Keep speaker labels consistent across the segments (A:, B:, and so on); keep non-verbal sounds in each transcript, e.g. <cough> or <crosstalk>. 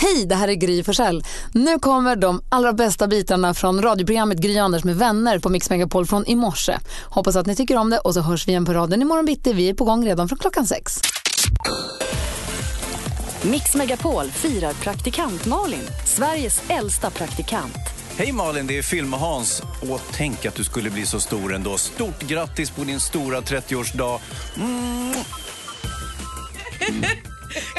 A: Hej, det här är Gry Forssell. Nu kommer de allra bästa bitarna från radioprogrammet Gry Anders med vänner på Mix Megapol från i morse. Hoppas att ni tycker om det och så hörs vi igen på raden imorgon bitti. Vi är på gång redan från klockan sex.
B: Mix Megapol firar praktikant Malin, Sveriges äldsta praktikant.
C: Hej Malin, det är Film-Hans. Åh, tänk att du skulle bli så stor ändå. Stort grattis på din stora Mm. 30-årsdag.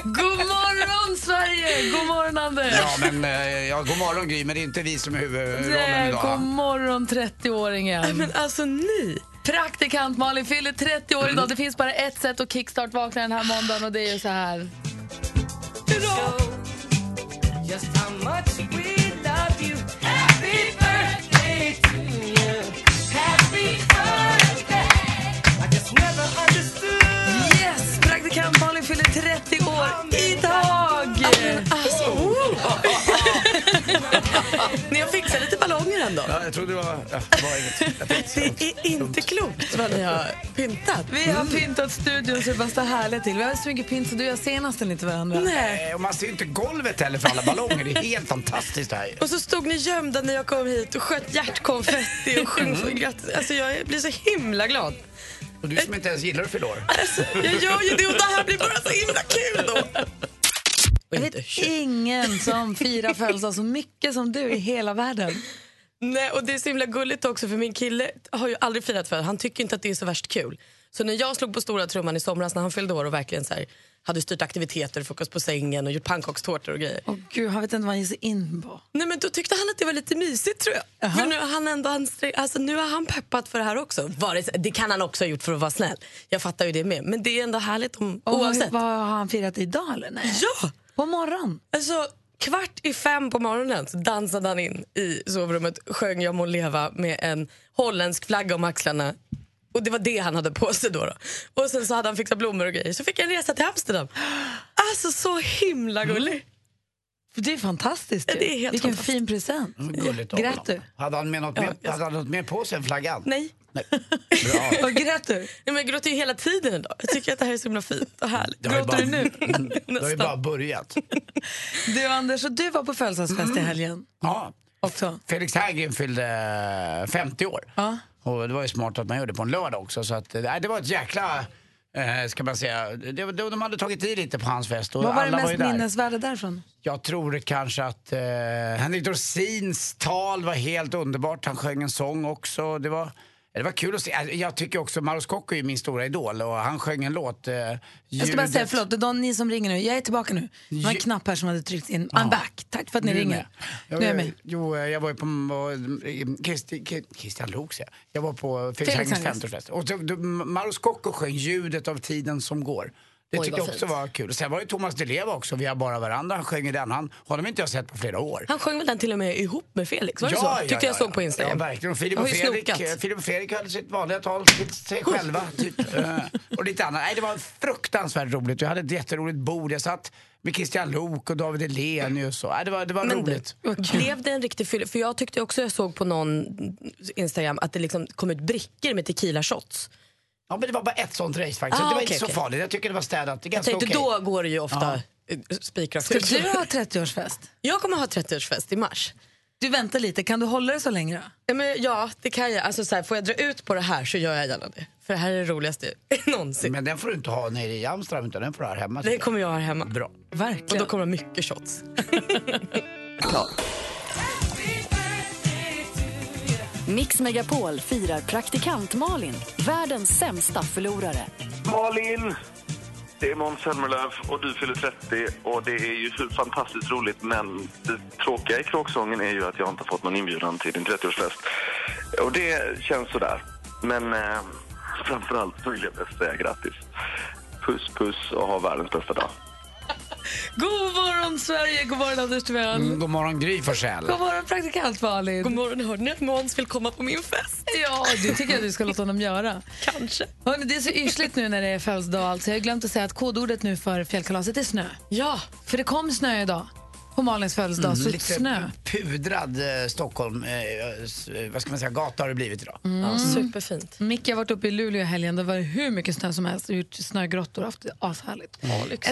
A: God morgon Sverige! God morgon Anders!
D: Ja, men eh, ja, god morgon Gry, men det är inte vi som är huvudrollen
A: Nej,
D: idag.
A: god
D: va?
A: morgon 30-åringen.
E: Men alltså ni!
A: Praktikant Malin fyller 30 år idag. Det finns bara ett sätt att kickstart vakna den här måndagen och det är ju så här. Yes! Praktikant Malin fyller 30 år idag!
E: Alltså, oh. Ni har fixat lite ballonger ändå.
D: Ja, jag trodde det var... Ja, det var inget. Jag
E: <laughs>
D: tänkte,
E: Det är inte klokt vad ni har pyntat.
A: Vi har pyntat studion så det bara står härliga till. Vi har så mycket pynt så du och jag ser nästan inte varandra.
E: Nej.
D: Eh, och man ser ju inte golvet heller för alla ballonger. Det är helt fantastiskt det här ju.
E: Och så stod ni gömda när jag kom hit och sköt hjärtkonfetti och sjöng så grattis. Alltså jag blir så himla glad.
D: Och du som inte ens gillar att fylla år.
E: Alltså, jag gör ju det och det här blir bara så himla kul då. Och
A: Jag
E: inte
A: vet ingen som firar födelsedag så mycket som du i hela världen.
E: Nej, och det är så himla gulligt också för min kille har ju aldrig firat för Han tycker inte att det är så värst kul. Så när jag slog på stora trumman i somras när han fyllde år och verkligen så här, hade styrt aktiviteter, frukost på sängen och gjort pannkakstårtor och grejer.
A: Åh gud, han vet inte vad han ger sig in på.
E: Nej men då tyckte han att det var lite mysigt tror jag. För nu har han ändå anstre- alltså, nu har han peppat för det här också. Vare sig- Det kan han också ha gjort för att vara snäll. Jag fattar ju det med. Men det är ändå härligt om,
A: Och
E: oavsett.
A: Vad, vad har han firat idag eller? Nej.
E: Ja!
A: På morgon?
E: Alltså, kvart i fem på morgonen så dansade han in i sovrummet, sjöng Jag må leva med en holländsk flagga om axlarna. Och det var det han hade på sig då. då. Och sen så hade han fixat blommor och grejer. Så fick jag en resa till Amsterdam. Alltså så himla gullig.
A: Mm. Det är fantastiskt ju.
E: Ja, det är helt
A: Vilken
E: fantastiskt.
A: fin present.
D: Gulligt av
A: Grät
D: honom. Hade han, med något mer, hade han något mer på sig än flaggan?
E: Nej. <laughs>
D: Bra.
A: du? Och grät du?
E: Nej, men jag gråter ju hela tiden idag. Jag tycker att det här är så himla fint och härligt.
D: Det har ju Mm,
E: Gråter du nu?
D: <laughs> Det har ju bara börjat.
A: Du Anders, och du var på födelsedagsfest
D: Mm.
A: i helgen
D: Ja.
A: också.
D: Felix Herngren fyllde 50 år.
A: Ja.
D: Och det var ju smart att man gjorde det på en lördag också. Så att, nej, det var ett jäkla... Eh, ska man säga. Det, det, de hade tagit i lite på hans fest. Och
A: Vad var det
D: alla var
A: mest
D: ju där.
A: minnesvärda därifrån?
D: Jag tror kanske att eh, Henrik Dorsins tal var helt underbart. Han sjöng en sång också. Det var, det var kul att se. Alltså, Jag tycker också Maros Kocko är ju min stora idol och han sjöng en låt. Eh,
A: Jag ska bara
D: ljudet-
A: säga förlåt, de, ni som ringer nu, jag är tillbaka nu. Det var en
D: Ju-
A: knapp här som hade tryckts in. I'm back, tack för att ni
D: Du är
A: ringer.
D: med.
A: Nu
D: Jag,
A: är jag med.
D: Jo, eh, jag var ju på var- Kristi, Kri- Christian Lok, säger jag. Jag var på Felix Hängens
A: Hängens.
D: 50-årsfest. Och så- då- Maros Kocko sjöng Ljudet av tiden som går. Det tyckte jag också var kul. Sen var det Thomas Di Leva också, Vi har bara varandra. Han sjöng i den. Han, honom inte jag sett på flera år.
E: Han sjöng väl den till och med ihop med <laughs> Felix? Var det så? Tyckte jag såg på Instagram.
D: Ja, verkligen. Och Filip
E: Jag
D: och,
E: har ju
D: Fredrik,
E: snokat.
D: eh, Filip och Fredrik hade sitt vanliga tal, sitt- sig själva, typ.
E: <laughs>
D: Eh, och lite annat. Nej, det var fruktansvärt roligt. Jag hade ett jätteroligt bord. Jag satt med Christian Lok och David Hellenius. Och, nej, det var, det var
E: Men du,
D: roligt.
E: blev det en riktig fylla? För jag tyckte också jag såg på någon Instagram att det liksom kom ut brickor med tequila shots.
D: Ja, men det var bara ett sånt race faktiskt.
E: Ah,
D: det var
E: okej,
D: inte så
E: okej.
D: farligt. Jag tycker det var städat. Det är
E: Jag
D: ganska
E: tänkte
D: okej.
E: då går det ju ofta eh, spikrakt ut.
A: Ska du ha 30-årsfest?
E: Jag kommer ha 30-årsfest i mars.
A: Du väntar lite, kan du hålla det så länge då?
E: Ja, men ja, det kan jag. Alltså, så här, får jag dra ut på det här så gör jag gärna det. För det här är det roligaste <laughs> någonsin.
D: Men den får du inte ha nere i Amsterdam utan den får du ha här hemma.
E: Det kommer jag ha hemma.
D: Bra.
E: Och
A: Verkligen.
E: då kommer det mycket shots.
B: Mix Megapol firar praktikant Malin, världens sämsta förlorare.
F: Malin! Det är Måns Zelmerlöw och du fyller 30 och det är ju så fantastiskt roligt men det tråkiga i kråksången är ju att jag inte har fått någon inbjudan till din 30-årsfest. Och det känns sådär. Men eh, framförallt så vill jag bäst säga grattis. Puss, puss och ha världens bästa dag.
A: God morgon Sverige, god morgon Anders Tvell.
D: Mm, god morgon Gry Forssell.
A: God morgon praktikant Malin.
E: God morgon, hörde ni att Måns vill komma på min fest?
A: Ja, det tycker jag du ska låta honom göra.
E: Kanske.
A: Hörrni, det är så yrsligt nu när det är födelsedag. Alltså, jag har glömt att säga att kodordet nu för fjällkalaset är snö.
E: Ja,
A: För det kom snö idag. på Malins födelsedag så
D: Lite
A: snö.
D: pudrad eh, Stockholm, eh, s- eh, vad ska man säga, gata har det blivit idag.
E: Ja, superfint.
A: Mm. Micke har varit uppe i Luleå i helgen. Det var hur mycket snö som helst. Gjort snögrottor och haft det ashärligt.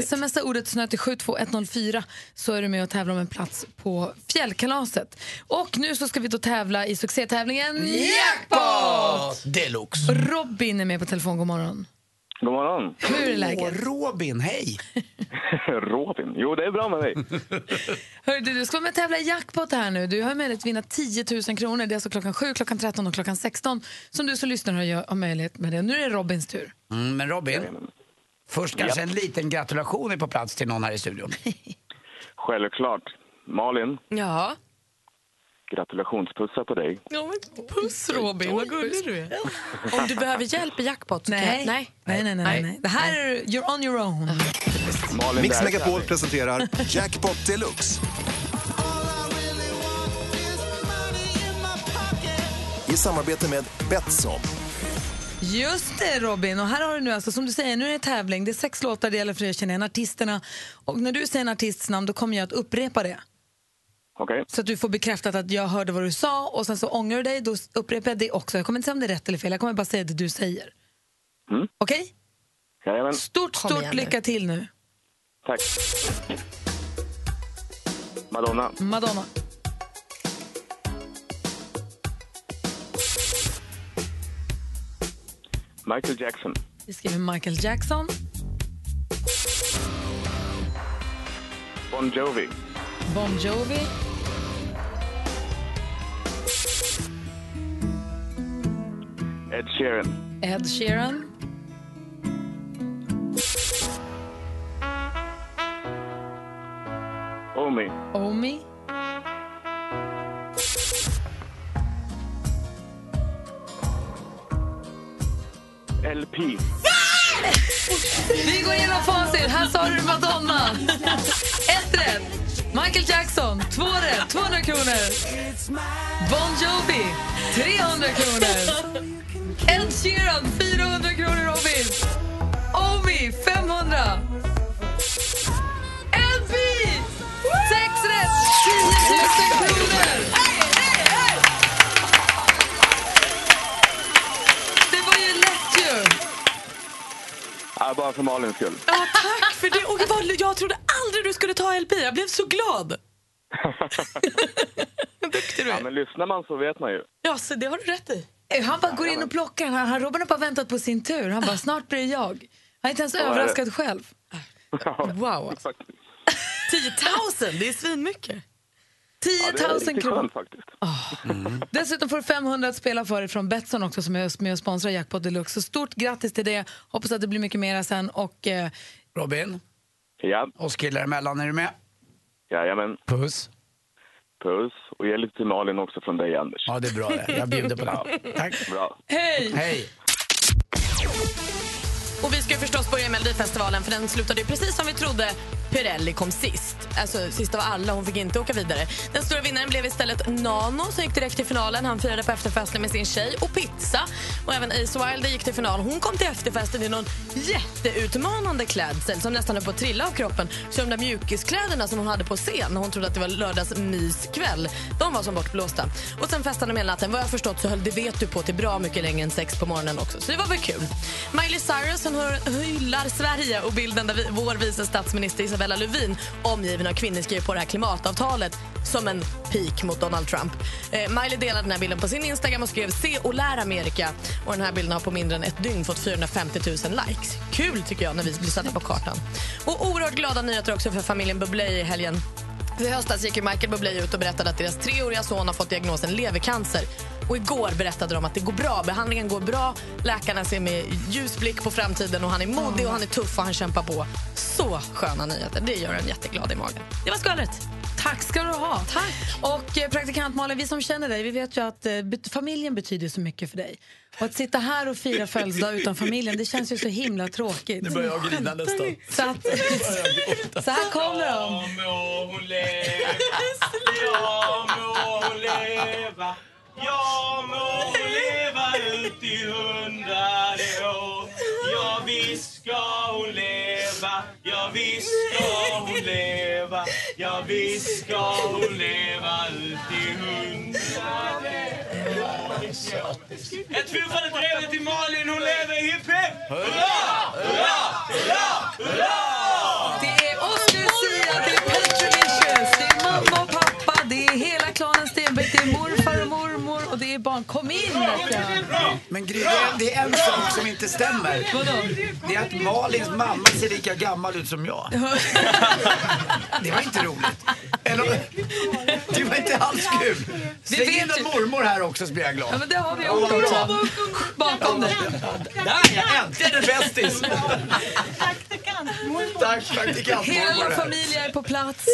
A: Smsa ordet snö till 72104 så är du med och tävlar om en plats på fjällkalaset. Och nu så ska vi då tävla i succétävlingen Jackpot!
D: Deluxe.
A: Robin är med på telefon. God morgon.
F: God morgon.
A: Hur är
D: Åh,
A: läget?
D: Robin, hej!
F: <laughs> Robin. Jo, det är bra med dig.
A: Hörru, du, du ska vara med och tävla i jackpot här nu. Du har möjlighet att vinna 10 000 kronor. Det är alltså klockan 7, klockan 13 och klockan 16 som du som lyssnar har, gör- har möjlighet med det. Nu är det Robins tur.
D: Mm, men Robin, först kanske en liten gratulation är på plats till någon här i studion.
F: <laughs> Självklart. Malin,
E: Ja.
F: gratulationspussar på dig.
A: Puss Robin, vad gullig du är.
E: Om du behöver hjälp i jackpot så kan
A: Nej.
E: jag- nej.
A: nej, nej, nej, nej, nej. Det här är you're on your own.
F: Malin,
C: Mix
F: där.
C: Megapol presenterar Jackpot Deluxe. I samarbete med Betsson.
A: Just det Robin, och här har du nu alltså som du säger, nu är det tävling. Det är sex låtar, det gäller för dig att känna igen artisterna. Och när du säger en artists namn då kommer jag att upprepa det.
F: Okej.
A: Så att du får bekräftat att jag hörde vad du sa och sen så ångrar du dig, då upprepar jag det också. Jag kommer inte säga om det är rätt eller fel, jag kommer bara säga det du säger.
F: Mm.
A: Okej?
F: Jajamän.
A: Stort,
E: Kom
A: stort
E: igen nu.
A: lycka till nu.
F: Tack. Madonna.
A: Madonna.
F: Michael Jackson.
A: Vi skriver Michael Jackson,
F: Bon Jovi.
A: Bon Jovi,
F: Ed Sheeran.
A: Ed Sheeran,
F: Omi.
A: Omi,
F: LP.
A: Vi går igenom facit. Här sa du Madonna. Ett rätt. Michael Jackson. Två rätt. 200 kronor. Bon Jovi. 300 kronor. Ed Sheeran. 400 kronor, Robin. Omi. 500. LP. Sex rätt. 10 000 kronor. Det var ju lätt ju.
F: Ja, bara för Malins skull.
E: Ja, tack för det. Och jag, var, jag trodde aldrig du skulle ta LP. Jag blev så glad. Vad duktig du
F: Ja,
E: är.
F: men lyssnar man så vet man ju.
E: Ja, så det har du rätt i.
A: Eh, Han bara går in och plockar den här. Han, Robin har bara väntat på sin tur. Han bara, snart blir det jag. Han är inte ens
F: är det.
A: överraskad själv.
F: <laughs>
E: Wow. 10 000, det är svinmycket.
A: 10
F: är
A: 000
F: riktigt
A: kronor.
F: skönt faktiskt.
D: Mm.
A: Dessutom får du 500 att spela för dig från Betsson också som är med och sponsrar Jackpot Deluxe. Så stort grattis till det. Hoppas att det blir mycket mera sen. Och, eh,
D: Robin,
F: Ja,
D: oss killar emellan, är du med?
F: jajamän.
D: Puss.
F: Puss. Och ge lite till Malin också från dig, Anders.
D: Ja, det är bra det. Jag bjuder på
F: <laughs>
D: det. Tack.
F: Bra.
A: hej!
D: Hej.
E: Och vi ska ju förstås börja i Melodifestivalen för den slutade ju precis som vi trodde. Pirelli kom sist. Alltså sist av alla, hon fick inte åka vidare. Den stora vinnaren blev istället Nano som gick direkt till finalen. Han firade på efterfesten med sin tjej och pizza. Och även Ace Wilder gick till final. Hon kom till efterfesten i någon jätteutmanande klädsel som nästan höll på att trilla av kroppen. Så de där mjukiskläderna som hon hade på scen när hon trodde att det var lördags myskväll, de var som bortblåsta. Och sen festade de hela natten. Vad jag har förstått så höll det vet du på till bra mycket längre än sex på morgonen också. Så det var väl kul. Miley Cyrus hon hör- hyllar Sverige och bilden där vi, vår vice statsminister Isabella Lövin omgiven av kvinnor skriver på det här klimatavtalet som en pik mot Donald Trump. Eh, Miley delade den här bilden på sin Instagram och skrev se och lär Amerika. Och den här bilden har på mindre än ett dygn fått 450 000 likes. Kul tycker jag när vi blir satta på kartan. Och oerhört glada nyheter också för familjen Bublé i helgen. För i höstas gick ju Michael Bublé ut och berättade att deras treåriga son har fått diagnosen levercancer. Och igår berättade de att det går bra, behandlingen går bra, läkarna ser med ljus blick på framtiden och han är modig och han är tuff och han kämpar på. Så sköna nyheter, det gör en jätteglad i magen. Det var skvallret.
A: Tack ska du ha.
E: Tack.
A: Och eh, praktikant Malin, vi som känner dig, vi vet ju att eh, bet- familjen betyder så mycket för dig. Och att sitta här och fira födelsedag utan familjen, det känns ju så himla tråkigt. Nu börjar jag grina nästan. Så, att, så här kommer de.
G: må hon leva. Ja, må hon leva. Ja, må hon leva ut i hundrade år. Ja, visst ska hon leva. Ja, visst ska hon leva. Ja, visst ska hon leva ut i hundrade år. Ett fyrfaldigt brev till Malin, hon lever hipp hipp!
A: Det är oss Lucia, det är Petrovicius, det är mamma och pappa, det är hela klanen Stenbeck, det är morfar och mormor och det är barn. Kom in! Lucia.
D: Men Gry, det är- det är en sak som inte stämmer. Det är att Malins mamma ser lika gammal ut som jag. Det var inte roligt. Eller, det var inte alls kul. Släng
A: vet
D: in en
A: ju-
D: mormor här också så blir jag
A: Ja,
D: glad.
A: men det har vi också bakom dig.
D: Där ja, äntligen en bästis! Tack
A: Hela
D: praktikantmormor.
A: familjen är på plats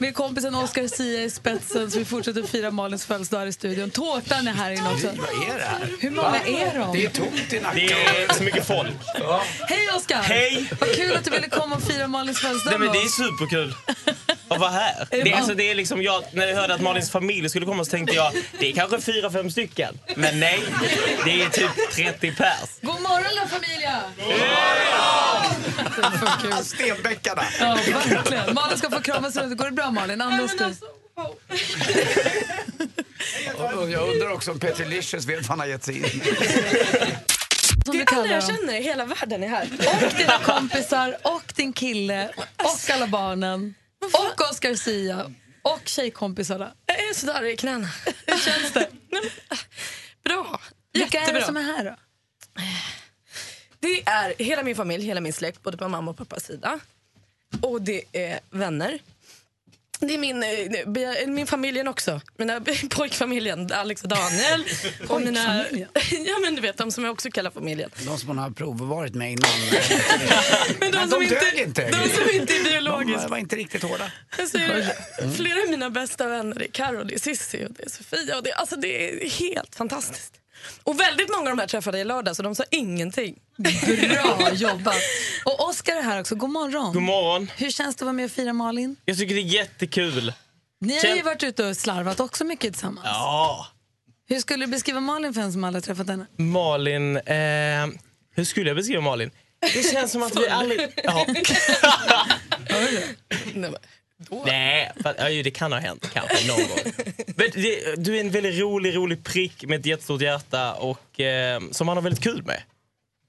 A: med kompisen Oscar Sia i spetsen så vi fortsätter fira Malins födelsedag här i studion. Tårtan är här inne också.
D: Vad är det här?
A: Hur många är
D: Det är
A: de?
D: tomt i Nacka.
G: Det är så mycket folk.
A: Hej Oscar!
G: Hej.
A: Vad kul att du ville komma och fira Malins
G: Nej,
A: födelsedag
G: men
A: med
G: det är
A: oss.
G: superkul att
A: <laughs>
G: vara här. Det är, alltså, det är liksom jag, när jag hörde att Malins familj skulle komma så tänkte jag det är kanske fyra, fem stycken. Men nej, det är typ 30 pers.
A: God morgon La Familia!
D: Stenbäckarna.
A: Ja, verkligen. Malin ska få kramas runt. Går det bra Malin? Andas du?
D: Och Jag undrar också om Petter Licious vet vad han har gett sig in i.
E: Det är
A: Som du
E: alla
A: kallar
E: jag
A: dem.
E: känner i hela världen är här.
A: Och dina kompisar och din kille och alla barnen och Oscar Sia och tjejkompisarna.
E: Jag är sådär i knäna. ah,
A: Hur
E: <laughs>
A: känns det?
E: Bra.
A: Vilka är det
E: Jättebra.
A: som är här då?
E: Det är hela min familj, hela min släkt, både på mamma och pappas sida. Och det är vänner. Det är min, eh, be- min familjen också. Mina <laughs> pojkfamiljen, Alex och Daniel. och mina, <laughs> ja men du vet, de som jag också kallar familjen.
D: De som hon har provvarit med innan.
E: Men de,
D: Men
E: som
D: de dög
E: inte,
D: inte.
E: De som inte är
D: De
E: biologiska.
D: var inte riktigt hårda.
E: Alltså, flera av mina bästa vänner är Karo, det är Cissi och det är Sofia. Och det, alltså, det är helt fantastiskt. Och väldigt många av de här träffade jag i lördag så de sa ingenting. <laughs>
A: Bra jobbat! Och Oscar är här också. God morgon.
G: God morgon.
A: Hur känns det att vara med och fira Malin?
G: Jag tycker det är jättekul.
A: Ni har ju
G: Kän-
A: varit ute och slarvat också mycket tillsammans.
G: Ja.
A: Hur skulle du beskriva Malin för en som aldrig träffat henne?
G: Malin, eh, hur skulle jag beskriva Malin? Det känns som att vi aldrig...
A: <laughs>
G: Ja.
E: Nej, men-
G: Nej, för, ja, ju, det kan ha hänt kanske någon gång. Men det, du är en väldigt rolig, rolig prick med ett jättestort hjärta och, eh, som man har väldigt kul med.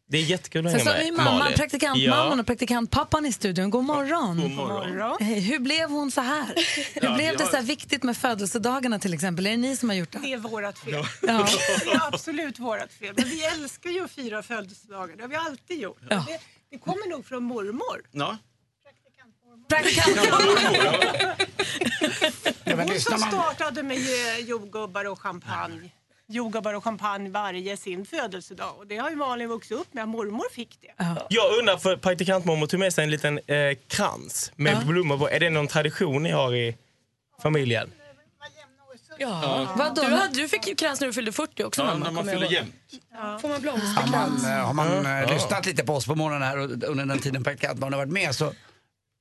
G: Det är jättekul att
A: Sen så
G: hänga
A: har vi
G: med
A: mamman,
G: Malin.
A: praktikantmamman
G: Ja.
A: och praktikantpappan i studion. God morgon.
G: God morgon.
A: Hej, hur blev hon så
G: <laughs>
A: här? Hur blev det så här viktigt med födelsedagarna till exempel? Är det ni som har gjort det?
H: Det är vårt fel.
A: Ja.
H: Det är absolut vårt fel. Men vi älskar ju att fira födelsedagar. Det har vi alltid gjort.
A: Ja.
H: Det, det kommer nog från mormor.
D: Ja, men
H: Hon
D: lyssnar
H: som
D: man
H: startade med eh, jordgubbar och champagne. Jordgubbar och champagne varje sin födelsedag. Och det har ju Malin vuxit upp med. Mormor fick det.
G: Jag undrar, för praktikantmormor tog med sig en liten eh, krans med blommor på. Är det någon tradition ni har i familjen?
E: Ja.
A: Vadå?
E: Du, hade, du fick ju krans när du fyllde 40 också mamma. kommer jag ihåg. Får man
D: Har
E: blomsterkrans?
D: man, eh, har man eh, lyssnat lite på oss på morgonen här och under den tiden praktikantbarnen har varit med så eh,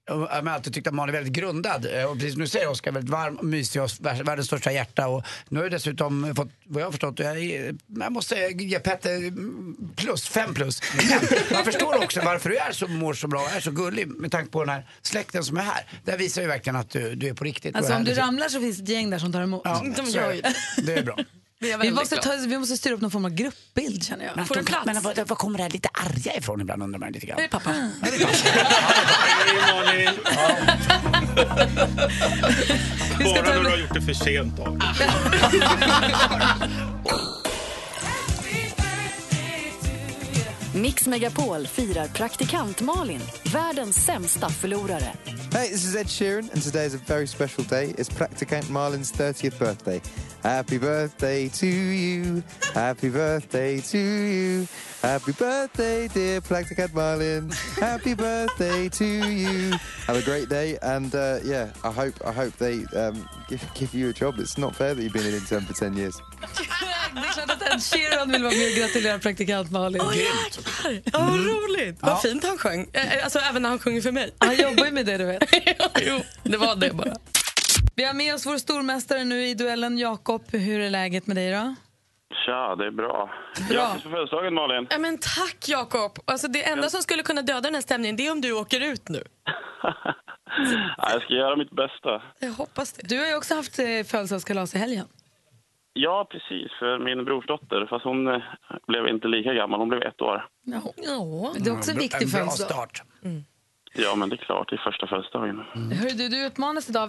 D: jag har alltid tyckt att Malin är väldigt grundad. Eh, Och precis som du säger Oskar, väldigt varm och mysig och vär- världens största hjärta. Och nu har jag dessutom fått, vad jag har förstått, jag, är- jag måste säga, ge Petter mm, plus, fem plus. Men man förstår också varför du är så, mår så bra och är så gullig med tanke på den här släkten som är här. Där visar ju verkligen att du, du är på riktigt. och
A: Alltså
D: är
A: om du
D: härlig.
A: ramlar så finns det ett gäng där som tar emot.
D: Ja,
E: Mm, De
D: så
E: gör
D: är
E: ju
D: det. Det är bra.
A: Vi måste, ta, vi måste styra upp någon form av gruppbild känner jag.
E: Får du plats?
D: Men
A: <laughs>
D: var, var kommer det här lite arga ifrån ibland undrar man lite grann.
A: Pappa. Vi ska ta
G: gjort det för sent.
B: Mix Megapol firar praktikant Malin, världens sämsta förlorare.
I: Hey, this is Ed Sheeran, and today is a very special day. It's Practicant Marlin's 30th birthday. Happy birthday to you. Happy birthday to you. Happy birthday, dear Practicant Marlin. Happy birthday to you. Have a great day, and uh, yeah, I hope I hope they um, give, give you a job. It's not fair that you've been an intern for 10 years.
A: Det är klart att Ed Sheeran vill vara med och gratulera praktikant Malin. Mm.
E: Åh jäklar! Ja, Vad roligt! Vad fint han sjöng. Eh, eh, Alltså även när han sjunger för mig.
A: Han jobbar ju med det du vet.
E: <laughs> jo, det var det bara.
A: Vi har med oss vår stormästare nu i duellen, Jakob. Hur är läget med dig då?
F: Tja, det är bra.
A: Bra.
F: För födelsedagen, Malin.
E: Ja, men tack Jakob! Alltså, det enda som skulle kunna döda den här stämningen det är om du åker ut nu.
G: Ja, jag ska göra mitt bästa.
A: Jag hoppas det. Du har ju också haft eh, födelsedagskalas i helgen.
G: Ja, precis. För min brorsdotter, fast hon eh, blev inte lika gammal, hon blev ett år.
A: Men Det är också en viktig födelsedag. Mm.
G: Ja, men det är klart, det är första födelsedagen.
A: Hörru du, du utmanas idag av...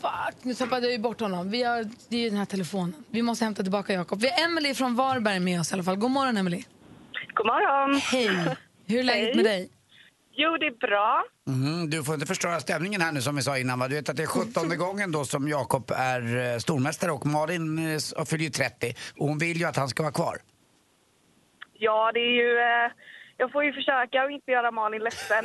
A: Fuck, nu tappade jag ju bort honom. Vi har, det är ju den här telefonen. Vi måste hämta tillbaka Jakob. Vi har Emily från Varberg med oss i alla fall. God morgon, Emily.
J: God morgon.
A: Hej. Hur
J: <laughs>
A: är läget
J: Hej.
A: med dig?
J: Jo, det är bra.
D: Mhm, du får inte förstöra stämningen här nu som vi sa innan va? Du vet att det är 17 gången då som Jakob är eh, stormästare och Malin eh, s- fyller ju 30 och hon vill ju att han ska vara kvar.
J: Ja, det är ju... Eh, jag får ju försöka att inte göra Malin ledsen.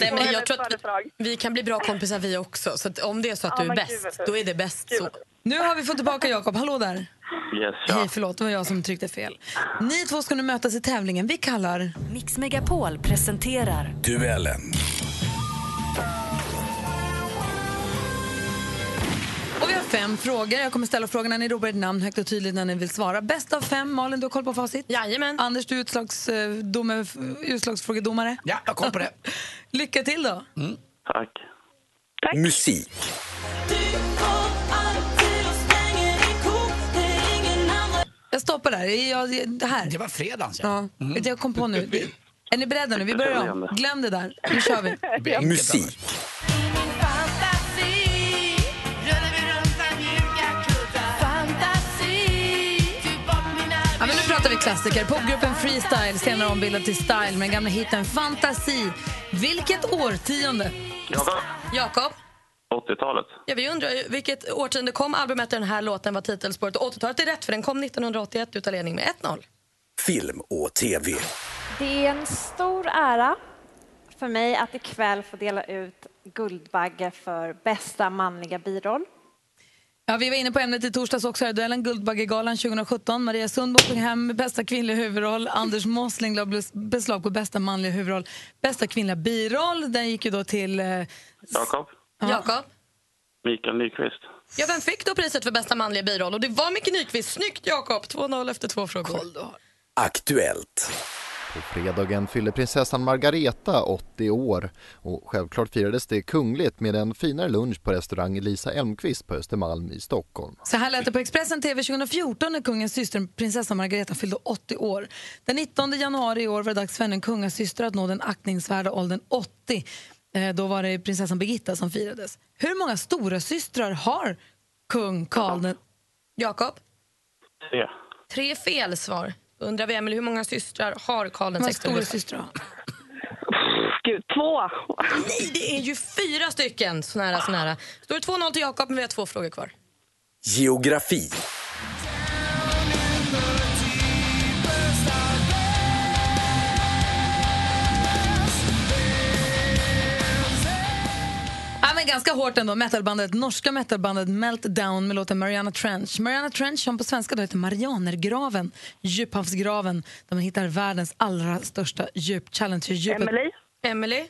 E: Nej, men jag tror att
J: vi,
E: vi kan bli bra kompisar vi också. Så att om det är så att
J: Ja,
E: du är
J: men gud,
E: bäst,
J: vad
E: då är det bäst så.
A: Nu har vi fått tillbaka Jakob. Hallå där.
G: Yes,
A: Hej, förlåt. Det var jag som tryckte fel. Ni två ska nu mötas i tävlingen vi kallar...
B: Mix Megapol presenterar
K: Duellen.
A: Och vi har fem frågor. Jag kommer ställa frågorna. Ni ropar ert namn högt och tydligt när ni vill svara. Bäst av fem. Malin, du har koll på facit? Jajamän. Anders, du är utslags, eh, dome- f- utslagsfrågedomare.
D: Ja, jag har koll på det.
A: Lycka till då.
G: Tack.
L: Musik.
A: Jag stoppar där. Jag, jag- det, här. det
D: var fredagens,
A: ja. Jag kom på nu. Är ni beredda nu? Vi börjar om. Glöm det där. Nu kör vi.
L: Musik.
M: typ
A: Ja, men nu pratar vi klassiker. Popgruppen Freestyle, senare ombildad till Style med den gamla hiten Fantasi. Vilket årtionde?
G: Jakob?
E: Jakob,
G: 80-talet.
E: ja, vi undrar ju vilket årtionde kom albumet där den här låten var titelspåret? Och 80-talet är rätt för den kom 1981. Du tar ledning med 1-0.
L: Film och TV.
M: Det är en stor ära för mig att ikväll få dela ut Guldbagge för bästa manliga biroll.
A: Ja, vi var inne på ämnet i torsdags också, här, duellen Guldbaggegalan 2017. Maria Sundborg tog hem bästa kvinnliga huvudroll. Anders Mossling la bes- beslag på bästa manliga huvudroll. Bästa kvinnliga biroll, den gick ju då till... Eh,
G: Jakob?
E: Jakob?
G: Mikael Nyqvist.
E: Ja, vem fick då priset för bästa manliga biroll? Och det var Micke Nyqvist. Snyggt Jakob! 2-0 efter två frågor.
L: Aktuellt.
N: På fredagen fyllde prinsessan Margareta 80 år och självklart firades det kungligt med en finare lunch på restaurang Lisa Elmqvist på Östermalm i Stockholm.
A: Så här lät det på Expressen TV 2014 när kungens syster prinsessan Margareta fyllde 80 år. Den 19 januari i år var det dags för ännu en kungasyster att nå den aktningsvärda åldern 80. Eh, då var det prinsessan Birgitta som firades. Hur många stora systrar har kung Karl den...
E: Jakob?
G: Tre.
E: Tre fel svar. Undrar vi, Emelie, hur många systrar har Karl
A: Hur
E: den
A: många
E: 16?
A: stora systrar har
E: Gud, två! Nej, det är ju fyra stycken! Så nära, så nära. Står det 2-0 till Jakob, men vi har två frågor kvar.
L: Geografi.
A: Ja, men ganska hårt ändå. Metalbandet, norska metalbandet Meltdown med låten Mariana Trench. Mariana Trench som på svenska då heter Marianergraven, djuphavsgraven där man hittar världens allra största djup, Challenger-djupet.
E: Emily? Emily?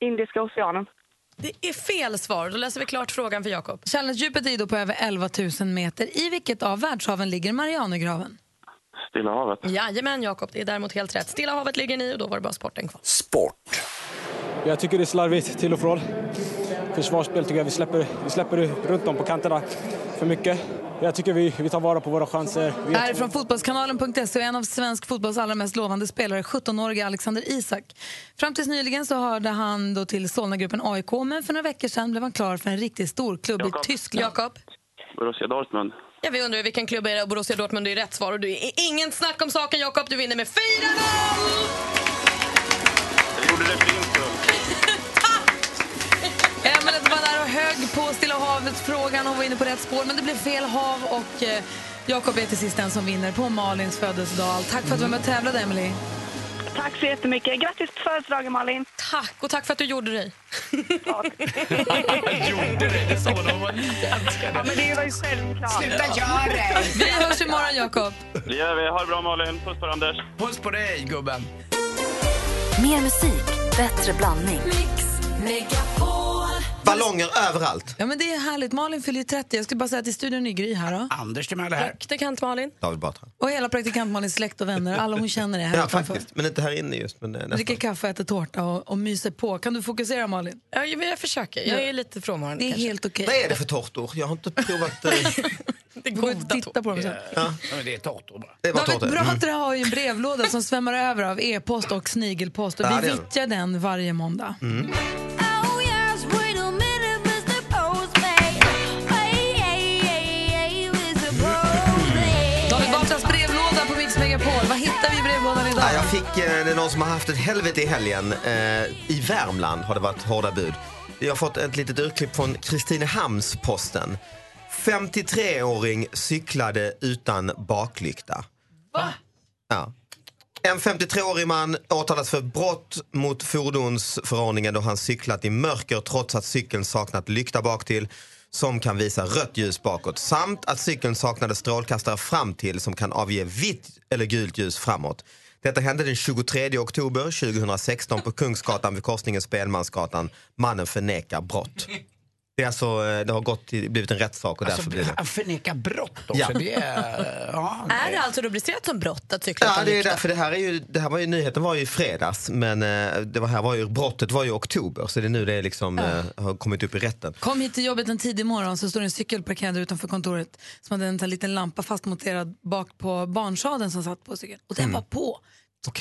E: Indiska oceanen. Det är fel svar. Då läser vi klart frågan för Jakob.
A: Challenger-djupet är ju då på över 11 000 meter. I vilket av världshaven ligger Marianergraven?
G: Stilla havet.
E: Jajamän, Jakob. Det är däremot helt rätt. Stilla havet ligger ni och då var det bara sporten kvar.
L: Sport.
O: Jag tycker det är slarvigt till och från. Försvarsspel tycker jag vi släpper, vi släpper runt dem på kanterna för mycket. Jag tycker vi, vi tar vara på våra chanser. Vi
A: Det här är från fotbollskanalen.se E och en av svensk fotbolls allra mest lovande spelare, 17-årige Alexander Isak. Fram tills nyligen så hörde han då till Solnagruppen AIK men för några veckor sedan blev han klar för en riktigt stor klubb
G: Jakob.
A: i Tyskland.
E: Jakob.
G: Borussia Dortmund.
E: Ja, vi undrar ju vilken klubb är det och Borussia Dortmund är ju rätt svar. Och du är ingen snack om saken, Jakob. Du vinner med 4-0!
G: Jag gjorde det fint. då.
A: Emelie var där och högg på Stilla havet-frågan. Hon var inne på rätt spår, men det blev fel hav. Och eh, Jakob är till sist den som vinner på Malins födelsedag. Tack för att du var med och tävlade, Emelie.
J: Tack så jättemycket. Grattis på födelsedagen, Malin.
E: Tack, och tack för att du gjorde dig.
G: Gjorde det? Det sa de.
J: Ja, men det var ju självklart.
G: Sluta göra det.
A: Vi hörs imorgon, Jakob.
G: Det gör vi. Ha det bra, Malin. Puss på dig, Anders. Puss på dig, gubben.
B: Mer musik, bättre blandning.
G: Mix Megapol.
P: Ballonger överallt.
A: Ja, men det är härligt. Malin fyller ju 30. Jag skulle bara säga att i studion är Gry här. Då.
D: Anders Timell är här.
A: Praktikant Malin.
P: David Batra.
A: Och hela praktikant Malins släkt och vänner. Alla hon känner är här
P: Ja,
A: utanför.
P: faktiskt. Men inte här inne just. Men eh, nästan.
A: Dricker kaffe, äter tårta och, och myser på. Kan du fokusera Malin?
E: Ja, men jag försöker. Jag är lite frånvarande
A: Det är
E: kanske.
A: helt okej.
P: Vad är det för tårtor? Jag har <laughs> inte provat... eh,
E: Det går att titta
A: på dem sen.
P: ja.
D: men det är tårtor bara.
P: Det är bara tårtor.
A: David
P: Mm.
A: Batra har ju en brevlåda som svämmar över av e-post och snigelpost. Och
P: Ja,
A: vi
P: det är den.
A: vittjar den varje måndag.
P: Mm.
A: David Batras brevlåda på Mix Megapol. Vad hittar vi i brevlådan idag?
P: Ja, jag fick, eh, det är någon som har haft ett helvete i helgen. Eh, I Värmland har det varit hårda bud. Jag har fått ett litet urklipp från Kristinehamns-Posten. 53-åring cyklade utan baklykta.
A: Va?
P: Ja. En 53-årig man åtalas för brott mot fordonsförordningen då han cyklat i mörker trots att cykeln saknat lykta bak till som kan visa rött ljus bakåt samt att cykeln saknade strålkastare fram till som kan avge vitt eller gult ljus framåt. Detta hände den 23 oktober 2016 på Kungsgatan vid korsningen Spelmansgatan. Mannen förnekar brott. Det, är alltså, eh, det har gått, till- blivit en rättssak och
D: Alltså,
P: därför blir det...
D: Han förnekar brott också.
P: Ja.
D: Det är, ja,
E: <laughs> Är det alltså rubricerat som brott att cykla
P: Ja,
E: utan
P: det är
E: lykta?
P: därför det här är ju, det här var ju, nyheten var ju i fredags men eh, det var här var ju, brottet var ju i oktober så det är nu det är liksom, eh, har kommit upp i rätten.
A: Kom hit till jobbet en tidig morgon så står det en cykel parkerad utanför kontoret som hade en sån här liten lampa fastmonterad bak på barnsadeln som satt på cykeln. Och den
P: Mm.
A: var på.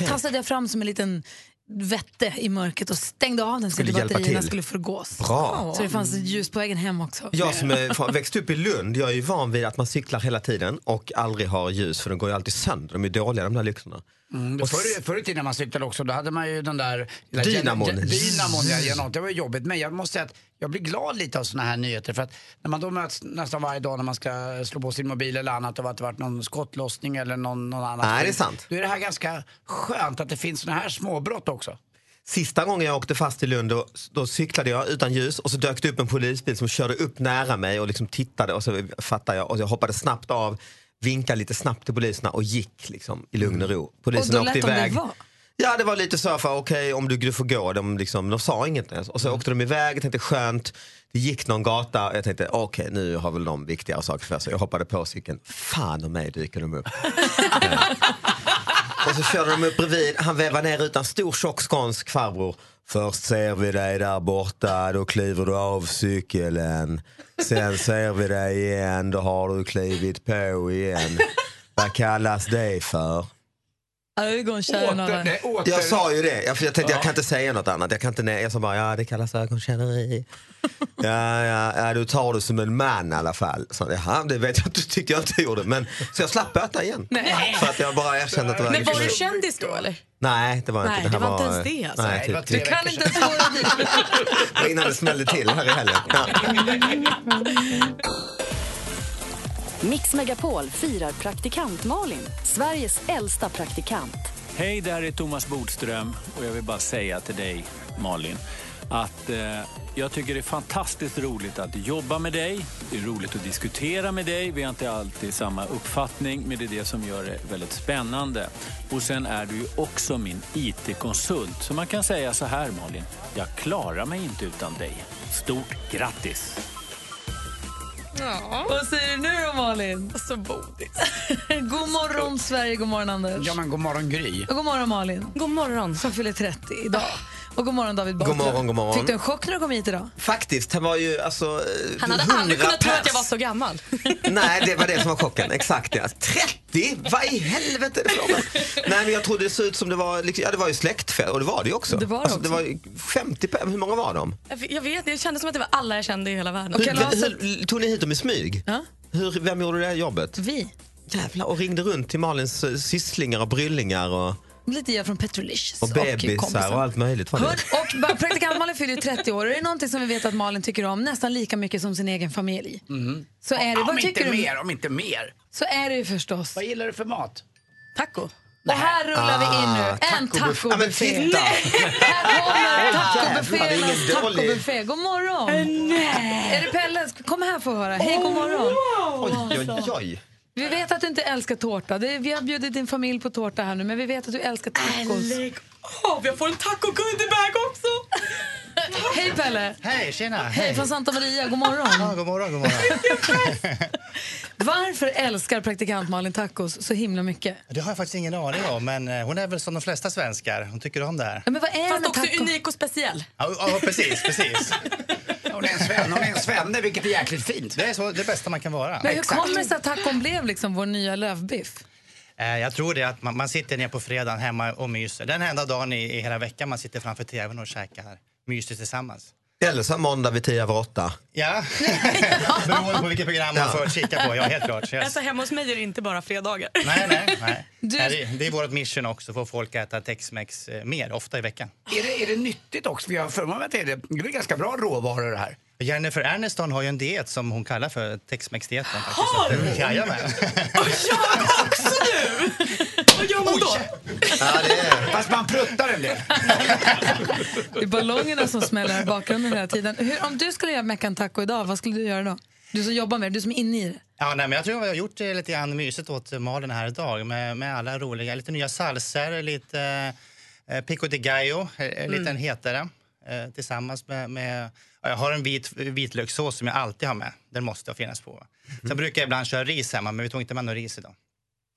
A: Tassade jag fram som en liten vette i mörkret och stängde av den så
P: Skulle
A: att
P: hjälpa
A: batterierna
P: till.
A: skulle förgås.
P: Bra.
A: Så det fanns ett ljus på vägen hem också.
P: Jag som är <laughs> från, växt upp i Lund, jag är ju van vid att man cyklar hela tiden och aldrig har ljus för de går ju alltid sönder, de är dåliga de där lyktorna.
D: Mm,
P: Och
D: förr, förr i tiden när man cyklade också, då hade man ju den där... lilla
P: Dynamon.
D: gen- gen- Dynamon, ja, genat. Det var ju jobbigt. Men jag måste säga att jag blir glad lite av såna här nyheter. För att när man då möts nästan varje dag när man ska slå på sin mobil eller annat och att det varit någon skottlossning eller någon, någon annan...
P: Nej, det är
D: skit,
P: sant.
D: Då är det här ganska skönt att det finns såna här småbrott också.
P: Sista gången jag åkte fast i Lund då, då cyklade jag utan ljus och så dök det upp en polisbil som körde upp nära mig och liksom tittade och så fattade jag och jag hoppade snabbt av, vinkade lite snabbt till poliserna och gick liksom i lugn och ro.
A: Mm. och då lät de det vara.
P: Ja, det var lite så här, för, okej om du, du får gå. De, liksom, de sa inget ens. Och så
A: Mm.
P: åkte de iväg, jag tänkte skönt. Det gick någon gata och jag tänkte okej nu har väl de viktigare saker för sig. Jag hoppade på cykeln. Fan och mig dyker de upp. Eh. och så körde de upp bredvid. Han vevar ner utan stor tjock skånsk farbror. Först ser vi dig där borta, då kliver du av cykeln. Sen ser vi dig igen, då har du klivit på igen. Vad kallas det för?
A: Ögonkärnorna.
P: Jag sa ju det, jag, för jag tänkte jag kan inte säga något annat. Jag, kan inte, nä- jag sa bara ja det kallas ögontjäneri. Ja, ja, ja, du tar det som en man i alla fall. Så, Jaha, det vet jag inte, tyckte jag inte gjorde. Men, så jag slapp böta igen.
E: Nej.
P: För att jag bara erkände att det var
E: Men var du
P: ögontjäneri.
E: kändis då eller?
P: Nej, det var jag
E: Nej,
P: inte.
E: det
P: här
E: var inte ens det, alltså.
P: Nej,
E: Nej, det var
P: typ,
E: tre veckor sedan.
P: det var innan det smällde till här i helgen. Ja.
B: Mix Megapol firar praktikant Malin, Sveriges äldsta praktikant.
Q: Hej, det här är Thomas Bodström och jag vill bara säga till dig, Malin, att eh, jag tycker det är fantastiskt roligt att jobba med dig. Det är roligt att diskutera med dig. Vi har inte alltid samma uppfattning, men det är det som gör det väldigt spännande. Och sen är du ju också min IT-konsult, så man kan säga så här, Malin. Jag klarar mig inte utan dig. Stort grattis!
A: Vad säger du nu då Malin? Så bodis. <laughs> god morgon Sverige, god morgon Anders.
D: Ja, men god morgon Gry.
A: Och god morgon Malin. God morgon. Som fyller 30 idag. Och god morgon David Batra.
P: God morgon, god morgon.
A: Fick du en chock när du kom hit idag?
P: Faktiskt, han var ju alltså...
A: Han hade aldrig kunnat tro att jag var så
E: gammal.
P: Nej, det var det som var chocken. Exakt ja. 30? Vad i helvete är det frågan? Nej, men jag trodde det såg ut som det var, liksom, ja det var ju släktfest och det var det ju också.
E: Det var det
P: alltså, det
E: också.
P: var ju 50, pe- hur många var de?
E: Jag vet- Jag vet, det kändes som att det var alla jag kände i hela världen.
P: Hur,
E: alltså-
P: hur, tog ni hit dem i smyg? Hur, vem gjorde det här jobbet?
A: Vi.
P: Jävlar, och ringde runt till Malins eh, sysslingar och bryllingar och,
A: Lite hjälp från Petrolicious
P: och bebisar
A: kompisar.
P: och allt möjligt. Var det?
A: Hör, och bara- praktikant Malin fyller ju 30 år och det är någonting som vi vet att Malin tycker om nästan lika mycket som sin egen familj.
D: Mm.
A: Så är det.
D: Om
A: Eh, Vad
D: inte
A: tycker du?
D: mer, om inte mer.
A: Så är det ju förstås. Vad
D: gillar du för mat? Ah,
A: Taco. Och här rullar vi in nu. En
P: tacobuff- Ja, men
A: tacobuffé.
P: titta!
A: <laughs> Här
P: Åh, jävlar, det är
A: Tacobufféernas
P: ingen dålig- Äh,
A: tacobuffé. God morgon! Är det Pelle? Kom här för att höra. Hej, god morgon! Alltså,
P: Oj, oj, oj.
A: Vi vet att du inte älskar tårta. Det- Vi har bjudit din familj på tårta här nu, men vi vet att du älskar tacos.
E: Lägg av! Jag får en taco goodiebag också!
A: <laughs> Hej Pelle!
R: Hej, tjena!
A: Hej från Santa Maria, god morgon.
R: Ja, god morgon, god morgon.
A: <laughs> Varför älskar praktikant Malin tacos så himla mycket?
R: Det har jag faktiskt ingen aning om, men eh, hon är väl som de flesta svenskar. Hon tycker om det här.
A: Ja, men vad är
E: Fast
A: det
E: också unik och speciell.
R: Ja, ja precis, precis.
D: Hon är en svenne, hon är en svenne, vilket är jäkligt fint.
R: Det är så, det bästa man kan vara.
A: Men hur kommer det sig att tacon blev liksom vår nya lövbiff?
R: Eh, Jag tror det är att man, man sitter ner på fredagen hemma och myser. Den enda dagen i, i hela veckan man sitter framför tvn och käkar mysigt tillsammans.
P: Eller så måndag vid tio över åtta.
R: Ja, beroende på vilket program man
P: Ja.
R: får kika på. Ja, helt
S: <laughs>
R: klart. Så jag-
S: Alltså hemma hos mig är det inte bara fredagar.
R: Nej, nej, nej.
S: Du-
R: Nej, Det, det är vårt mission också, att få folk att äta Tex-Mex eh, mer, ofta i veckan.
D: Är det, är det
A: <laughs>
D: nyttigt också? För jag har för mig att det är, det är ganska bra råvaror det här.
R: Jennifer Aniston har ju en diet som hon kallar för Tex-Mex-dieten.
D: Har hon?
R: Jajamän.
S: Vad gör man då?
D: Fast man pruttar en del.
A: <laughs> Det är ballongerna som smäller här i bakgrunden hela tiden. Hur, om du skulle göra Meckan taco idag, vad skulle du göra då? Du som jobbar med det, du som är inne i det.
R: Ja, nej, men jag tror jag har gjort det lite grann mysigt åt eh, Malin här idag med, med alla roliga, lite nya salser, lite eh, pico de gallo, eh, en liten hetare eh, tillsammans med, med ja, jag har en vit, vitlökssås som jag alltid har med. Den måste finnas på.
D: Mhm.
R: Sen brukar jag ibland köra ris hemma, men vi tog inte med någon ris idag.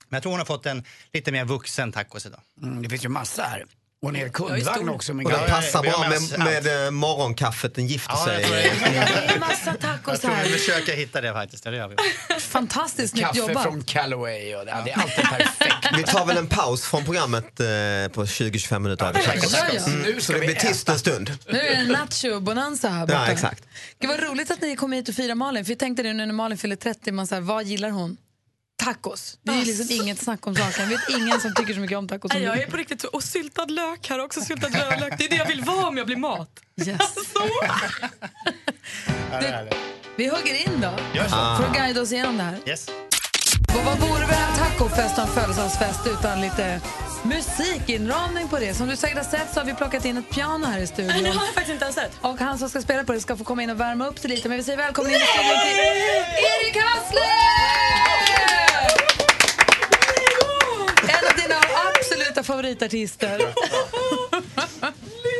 R: Men jag tror hon har fått en lite mer vuxen tacos idag.
D: Mm, det finns ju massa här. Och en hel
R: Jag är
D: kundvagn
R: stor.
D: också. Med
R: Och
P: Och
D: grejer.
P: den passar bra med, med eh, morgonkaffet, den gifter sig.
A: Det är massa tacos här.
R: försöker hitta det faktiskt. Det gör vi.
A: Fantastiskt snyggt
D: Kaffe
A: jobbat.
D: från Callaway och det, ja, det är alltid perfekt.
P: Vi tar väl en paus från programmet eh, på 20-25 minuter. här.
A: Ja, ja.
P: Mm, så det blir tyst en stund.
A: Nu är det en nacho-bonanza här borta.
P: Ja, exakt.
A: Gud, vad roligt att ni kom hit och firade Malin. För jag tänkte det nu när Malin fyller 30, man så här, vad gillar hon? Tacos. Det är ju liksom inget snack om saken. Jag vet ingen som tycker så mycket om tacos som
S: Nej,
A: du.
S: jag är på riktigt så... Och syltad lök här också. Syltad rödlök. Det är det jag vill vara om jag blir mat.
A: Yes.
S: <laughs>
A: Vi hugger in då,
S: Gör så.
A: för att guida oss igenom det här.
R: Yes.
A: Och vad vore väl en tacofest och en födelsedagsfest utan lite musikinramning på det? Som du säkert har sett så har vi plockat in ett piano här i studion.
S: Nej, det har jag faktiskt inte ens sett.
A: Och han som ska spela på det ska få komma in och värma upp sig lite. Men vi säger välkommen in i studion till Erik Hassler! En av dina absoluta favoritartister.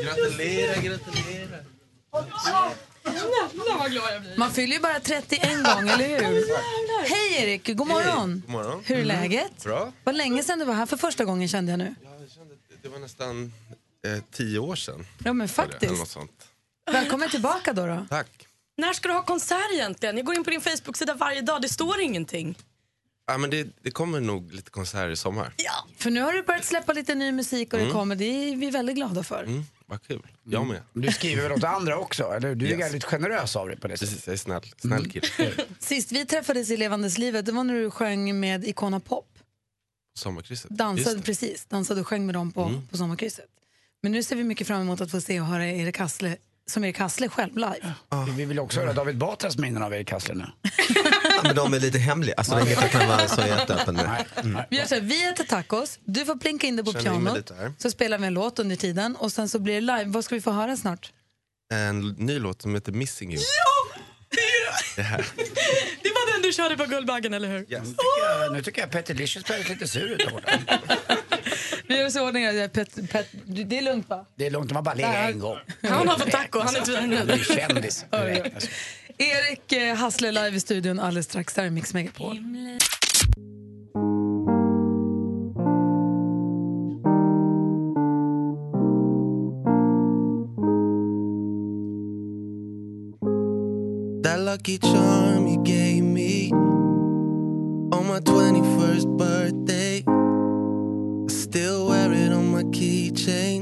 G: Gratulera, gratulera.
S: Jävlar vad glad jag blir.
A: Man fyller ju bara 30 en gång, eller hur? Hej Erik, god morgon!
T: God morgon.
A: Hur är läget?
T: Bra.
A: Vad länge sedan du var här för första gången kände jag nu.
T: Det var nästan eh, tio år sedan.
A: Ja men
T: Eller
A: faktiskt.
T: något sånt.
A: Välkommen tillbaka då. då.
T: Tack.
S: När ska du ha konsert egentligen? Jag går in på din Facebook-sida varje dag. Det står ingenting.
T: Ja, men det, det kommer nog lite konserter i sommar.
A: Ja. För nu har du börjat släppa lite ny musik och det
T: Mm.
A: kommer. Det är vi väldigt glada för.
T: Mm, <laughs> vad kul. Jag med.
D: Du skriver väl åt andra också? Eller? hur? Du är
T: Yes.
D: väldigt generös av dig på det
T: Precis, jag är snäll, snäll kille.
A: Sist vi träffades i Levandes livet, det var när du sjöng med Icona Pop.
T: Sommarkrysset. Just
A: Dansade,
T: det.
A: precis, dansade och sjöng med dem på,
T: Mm.
A: på sommarkrysset. Men nu ser vi mycket fram emot att få se och höra Erik Hassle som Erik Hassle själv live.
D: Mm. Vi- Vi vill också höra David Batras minnen av Erik Hassler nu.
P: Ja, men de är lite hemliga, alltså, det är inget jag kan vara så jätteöppen med. Mm.
A: Vi gör så här, vi äter tacos, du får plinka in det på
T: Känner in mig
A: pianot,
T: lite här.
A: så spelar vi en låt under tiden och sen så blir det live. Vad ska vi få höra snart?
T: En ny låt som heter Missing You. Det här.
S: Det var den du körde på Guldbaggen, eller hur?
D: Nu tycker jag, nu tycker jag Petter Licious börjar lite sur ut där borta.
A: Vi gör oss i ordning. här. Pet, pet, du- det är lugnt va?
D: Det är lugnt, de har bara legat en gång.
A: Han har fått taco, han är inte vidare nu.
D: Du är kändis. Du räknas.
A: Erik eh, Hassle live i studion alldeles strax. Där är Mix Megapol.
U: That lucky charm you gave me on my 21st birthday. I still wear it on my keychain.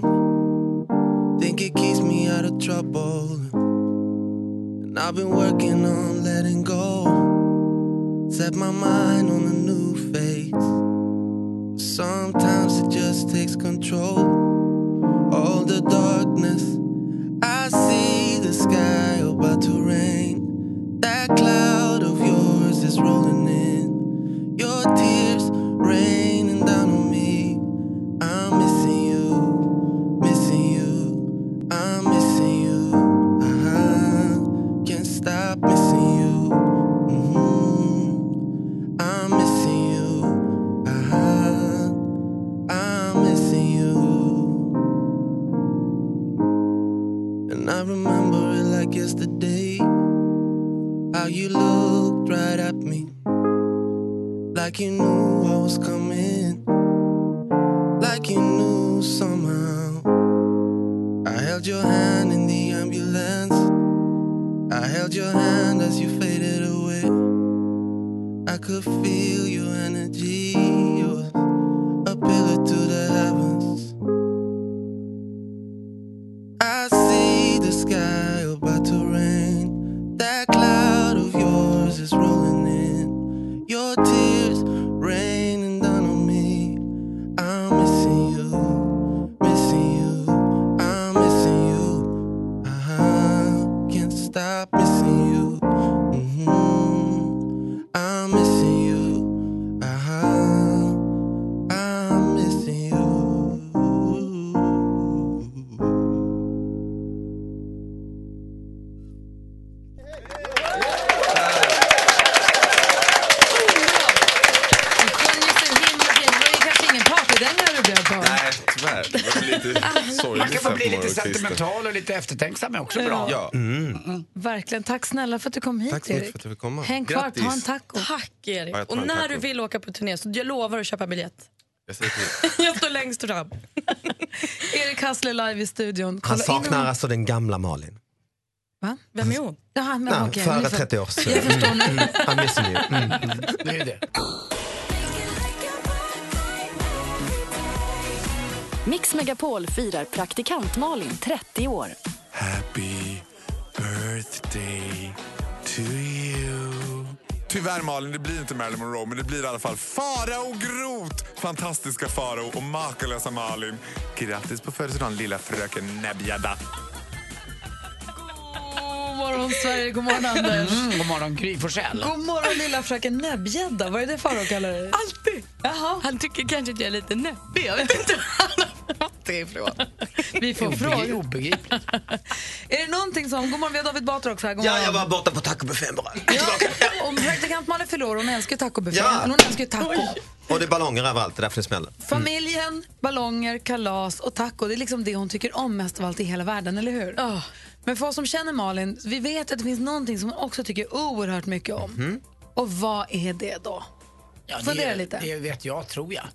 U: Think it keeps me out of trouble. And I've been working on letting go. Set my mind on a new face. Sometimes it just takes control. All the darkness. I see the sky about to rain. That cloud of yours is rolling in. Your tears raining down on me. I'm missing you, missing you. I'm missing you. Uh-huh. Can't stop missing you. Mhm. I'm missing you. Uh-huh. I'm missing you. And I remember you looked right at me. Like you knew I was coming. Like you knew somehow. I held your hand in the ambulance. I held your hand as you faded away. I could feel your energy. You were a pillar to the heavens. I see the sky about to rain. That cloud of yours is rolling in. Your tears raining down on me. I'm missing you, missing you. I'm missing you. Uh-huh. Can't stop missing you. hmm I'm missing you. Uh-huh. I'm missing you.
A: kanske ingen partydänga du blev på.
S: Nej, tyvärr. Det var lite sorgligt
D: Man kan få
S: här
D: bli
S: på
D: lite
S: morgonkvisten.
D: sentimental och lite eftertänksam är också bra. Mm.
S: Ja.
A: Mm. Verkligen. Tack snälla för att du kom hit,
S: Tack så mycket
A: Erik.
S: för att jag fick komma.
A: Häng kvar,
S: Grattis.
A: ta en taco.
E: Tack Erik.
S: Ja, jag tar
E: Och
S: en
E: när
S: taco.
E: du vill åka på turné, så jag lovar att köpa biljett.
S: Jag säger till.
E: <laughs> jag står längst fram.
A: Erik Hassler live i studion.
P: Han
A: Kolla in
P: saknar
A: honom.
P: alltså den gamla Malin.
A: Va? Vem är hon? Ja, han med
P: Nej,
A: Håkan.
P: före
A: Jag förstår-
P: 30 år sedan.
A: Jag förstår
S: <laughs>
A: nu.
P: Mm, han missar ju. Mm.
D: Det är det.
B: Mix Megapol firar praktikant Malin 30 år.
S: Happy birthday to you.
V: Tyvärr Malin, det blir inte Marilyn Monroe men det blir i alla fall Farao Groth! Fantastiska Farao och makalösa Malin. Grattis på födelsedagen lilla fröken Nebjada.
A: God morgon, Sverige. God morgon, Anders.
D: Mm, god morgon, Gry Forssell.
A: God morgon, lilla fröken Näbbgädda. Vad är det Farao kallar dig? Alltid. Jaha.
E: Han tycker kanske att jag är lite näppig. Jag vet
A: <laughs>
E: inte var han har fått det ifrån.
A: Vi får
D: Obegri-
A: fråga.
D: Obegripligt.
A: Är det någonting som... God morgon, vi har David Batra också här. God
P: Ja,
A: morgon.
P: jag var borta på tacobuffén bara.
A: Om praktikant Malin fyller år, hon älskar ju tacobuffén.
P: Ja.
A: Hon älskar ju taco.
P: Och det är ballonger överallt, det är därför det smäller.
A: Familjen, ballonger, kalas och taco. Det är liksom det hon tycker om mest av allt i hela världen, eller hur? Men för oss som känner Malin, vi vet att det finns någonting som hon också tycker oerhört mycket om.
P: Mm.
A: Och vad är det då?
D: Ja,
A: Fundera
D: det,
A: lite.
D: Det vet jag, tror jag.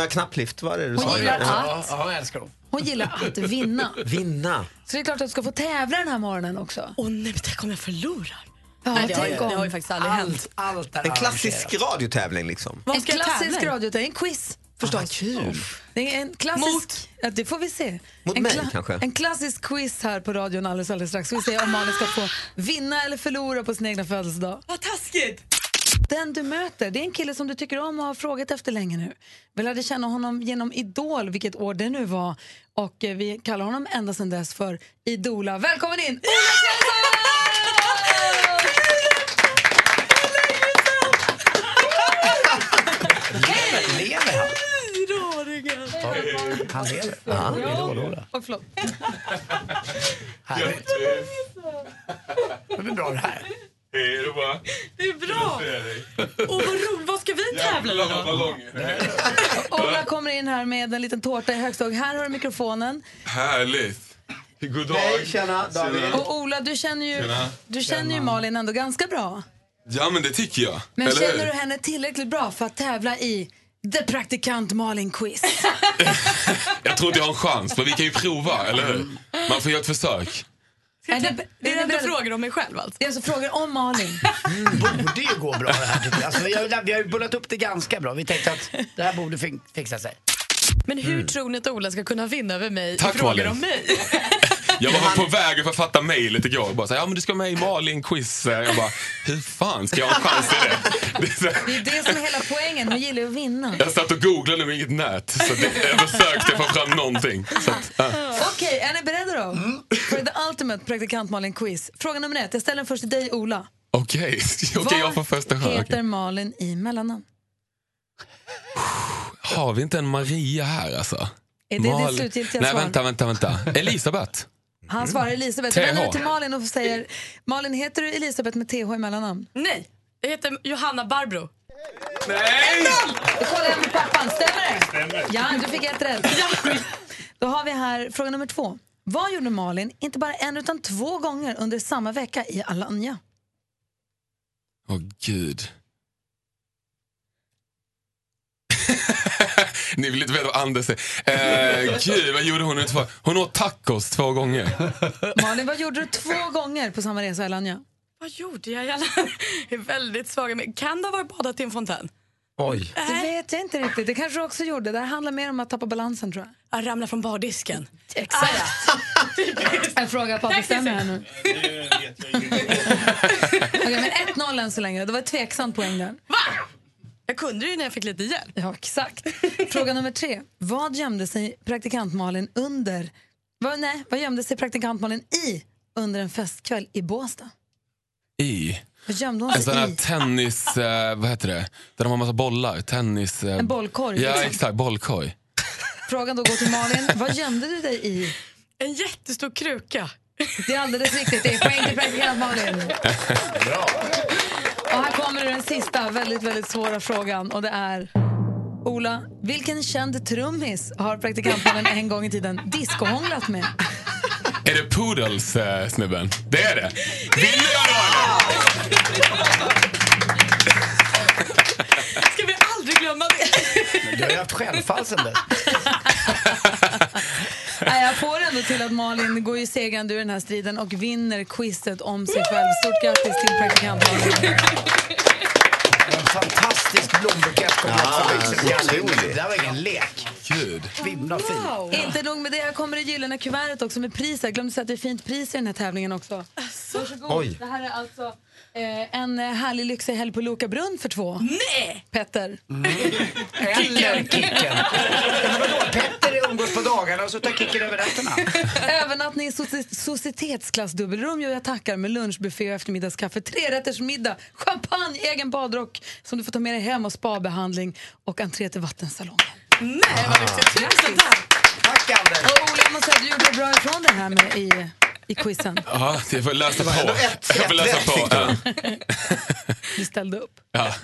P: Äh, knapplift, vad är det du
A: Hon
P: sa?
A: gillar
D: Ja,
A: att-
D: ja, jag älskar dem.
A: Hon gillar att vinna.
P: Vinna.
A: Så det är klart att du ska få tävla den här morgonen också. Åh nej, tänk om jag förlorar. Ja,
E: Nej, det har ju-
A: tänk om.
E: det har ju faktiskt aldrig
A: Allt.
E: hänt.
D: Allt
P: En klassisk radiotävling liksom.
A: En klassisk radio, det är en quiz förstås.
P: Kul.
A: Det är en klassisk, Ja, det får vi se.
P: Mot
A: en
P: mig, kanske?
A: En klassisk quiz här på radion alldeles, alldeles strax. Vi ser om Malin ska få vinna eller förlora på sin egna födelsedag.
E: Vad taskigt!
A: Den du möter, det är en kille som du tycker om och har frågat efter länge nu. Vi lärde känna honom genom Idol, vilket år det nu var. Och eh, vi kallar honom ända sedan dess för Idola. Välkommen in! Ola
D: Lever han?
E: Fyraåringen!
D: Han lever.
E: Ja.
D: Idol-Ola.
A: Oh, förlåt.
D: <laughs> Härligt. Det blir bra det här.
T: Hej då bara.
E: Det är bra! Åh, vad roligt! Vad ska vi tävla i
T: Jävla
E: då?
T: ballonger.
A: Ola kommer in här med en liten tårta i högstång. Här har du mikrofonen.
T: Härligt. God dag.
P: Hej, tjena, David.
T: Tjena.
A: Och Ola, du känner ju,
T: Tjena.
A: du känner ju Malin ändå ganska bra.
T: Ja, men det tycker jag.
A: Men
T: Eller
A: känner du
T: hur?
A: henne tillräckligt bra för att tävla i The Praktikant Malin-quiz?
T: Jag tror inte jag har en chans, men vi kan ju prova, eller hur? Man får göra ett försök.
A: Är det,
E: Det är ändå frågor om mig själv alltså.
A: Det är alltså frågor om Malin.
D: Mm. borde ju gå bra det här tycker jag. Alltså, vi, har, vi har ju bullat upp det ganska bra. Vi tänkte att det här borde fin- fixa sig.
E: Men hur
D: Mm.
E: tror ni att Ola ska kunna vinna över mig
T: Tack,
E: i frågor
T: Malin.
E: om mig?
T: Jag var på väg att författa mejlet igår. och Bara så här, ja, men du ska med i Malin-quiz. Jag bara, hur fan ska jag ha en chans i det? det är så här,
A: Det är det som är hela poängen. Hon gillar ju att vinna.
T: jag satt och googlade med inget nät, så det, jag försökte få fram någonting. Så att, ja. Mm.
A: Okej, är ni beredda då? För The Ultimate Praktikant Malin-quiz. Fråga nummer ett. Jag ställer den först till dig, Ola.
T: Okej, <laughs> okej jag får första
A: Heter
T: chans. Okej.
A: Malin i mellannamn?
T: Har vi inte en Maria här alltså?
A: Är det ditt
T: Mal-
A: slutgiltiga
T: Nej,
A: svar?
T: vänta, vänta, vänta.
A: <laughs>
T: Elisabeth.
A: Han svarar
T: Mm.
A: Elisabeth. Jag
T: TH.
A: vänder mig till Malin och säger Malin, heter du Elisabeth med TH i mellannamn?
E: Nej, jag heter Johanna Barbro.
T: Nej!
A: Du kollar jag med pappan, stämmer det? Ja, du fick ett rätt. Då har vi här fråga nummer två. Vad gjorde Malin, inte bara en utan två gånger under samma vecka i Alanya?
T: Åh gud. <laughs> Ni vill inte veta vad Anders säger. Eh, gud, vad gjorde hon nu? två- Hon åt tacos två gånger.
A: Malin, vad gjorde du två gånger på samma resa i Alanya?
S: Vad gjorde jag? Jag är väldigt svag. Men Kan det ha varit badat i en fontän?
D: Oj.
A: Det vet jag inte riktigt. Det kanske du också gjorde. Det här handlar mer om att tappa balansen tror jag.
S: Jag ramlade från bardisken. Ah,
A: Exakt. en fråga på bestämmer här nu. Okej, men 1-0 än så länge. Det var ett tveksamt poäng där.
S: Jag kunde det ju när jag fick lite hjälp.
A: Ja, exakt. Fråga nummer tre. Vad gömde sig praktikant Malin under... Vad, nej, vad gömde sig praktikant Malin i under en festkväll i Båstad?
T: I.
A: Vad gömde hon
T: En sån
A: sig
T: här
A: i?
T: tennis... Eh, vad heter det? Där de har massa bollar. Tennis... Eh,
A: En bollkorg,
T: Ja,
A: liksom.
T: exakt. Bollkorg.
A: Frågan då går till Malin. Vad gömde du dig i?
S: En jättestor kruka.
A: Det är alldeles riktigt. Det är poäng till praktikant Malin.
G: Bra.
A: Och här kommer den sista väldigt, väldigt svåra frågan och det är Ola, vilken känd trummis har praktikantmannen en gång i tiden diskohånglat med?
T: <laughs> Är det Poodles, eh, snubben? Det är det. Vinner jag då, eller?
S: Ska vi aldrig glömma det?
D: Du har ju haft självfall sen dess.
A: Nej, jag får ändå till att Malin går ju segrande ur den här striden och vinner quizet om sig själv. Stort grattis till praktikantmannen.
D: En fantastisk blombukett kom
G: Ja,
D: också.
G: otroligt.
D: Det där var ingen lek.
T: Gud.
D: Himla fint.
A: Inte nog med det, här kommer det gyllene kuvertet också med priset. Jag glömde säga att det är fint pris i den här tävlingen också.
E: Alltså,
A: Varsågod.
G: Oj.
A: Det här är alltså eh, en eh, härlig lyxig helg på Loka brunn för två. Nej! Petter.
D: Eller Kicken. Men vadå, Petter umgås på dagarna och så tar Kicken över nätterna.
A: Övernattning i soci- societetsklass dubbelrum. Jo, jag tackar med lunchbuffé och eftermiddagskaffe. Trerättersmiddag, champagne, egen badrock som du får ta med dig hem och spabehandling och entré till vattensalongen. Nej,
G: vad lyxigt.
A: Tusen tack! Tack, Anders. Och Ola, jag måste säga att du gjorde bra ifrån dig här med i, i quizen.
T: Ja, jag får läsa på.
G: ändå ett
T: Jag får
G: rätt
T: läsa på.
G: fick
T: Ja.
A: Du ställde upp.
T: Ja.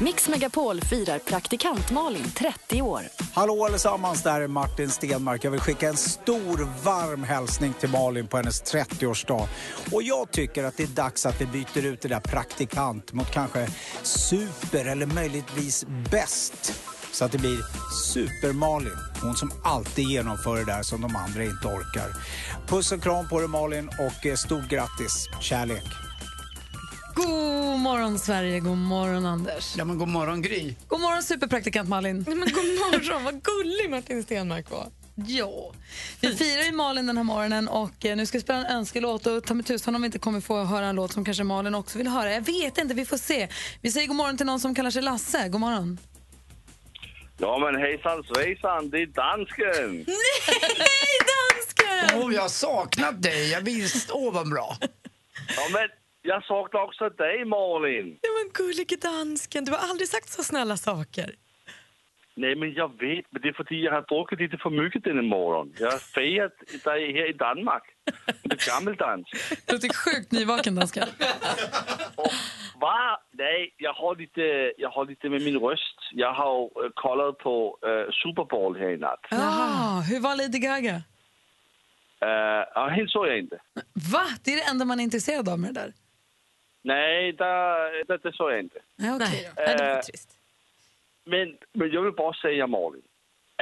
B: Mix Megapol firar praktikant Malin 30 år.
C: Hallå allesammans, där är Martin Stenmark. Jag vill skicka en stor varm hälsning till Malin på hennes 30-årsdag. Och jag tycker att det är dags att vi byter ut det där praktikant mot kanske super eller möjligtvis bäst. Så att det blir Super-Malin. Hon som alltid genomför det där som de andra inte orkar. Puss och kram på dig Malin och eh, stort grattis. Kärlek.
A: God morgon, Sverige. God morgon, Anders.
D: Ja, men god morgon, Gry.
A: God morgon, superpraktikant Malin.
E: Men god morgon, vad gullig Martin Stenmark var.
A: Ja. Vi firar ju Malin den här morgonen och eh, nu ska vi spela en önskelåt och ta med tusan om vi inte kommer få höra en låt som kanske Malin också vill höra. Jag vet inte, vi får se. Vi säger god morgon till någon som kallar sig Lasse. God morgon.
H: <laughs> Ja, men hejsan svejsan, det är dansken!
D: Nej, dansken! Åh, Oh, jag har saknat dig. Jag visste, åh vad bra.
H: Ja, men jag saknar också dig, Malin.
S: Ja, men gullige dansken, du har aldrig sagt så snälla saker.
H: Nej, men jag vet, men det är för att jag har druckit lite för mycket denna morgon. Jag har fejat dig här i Danmark. Det är gammeldans.
A: Du låter sjukt nyvaken, danska.
H: Va? Nej, jag har, lite, jag har lite med min röst. Jag har eh, kollat på eh, Super Bowl här i natt.
A: <laughs> Ah, hur var Lady Gaga?
H: Eh, Ja, helt såg jag inte.
A: Va? Det är det enda man är intresserad av med det där.
H: Nej, där, där, det såg jag inte.
A: Nej, okej.
H: Nej, det var trist. Øh, Men, men jag vill bara säga, Malin,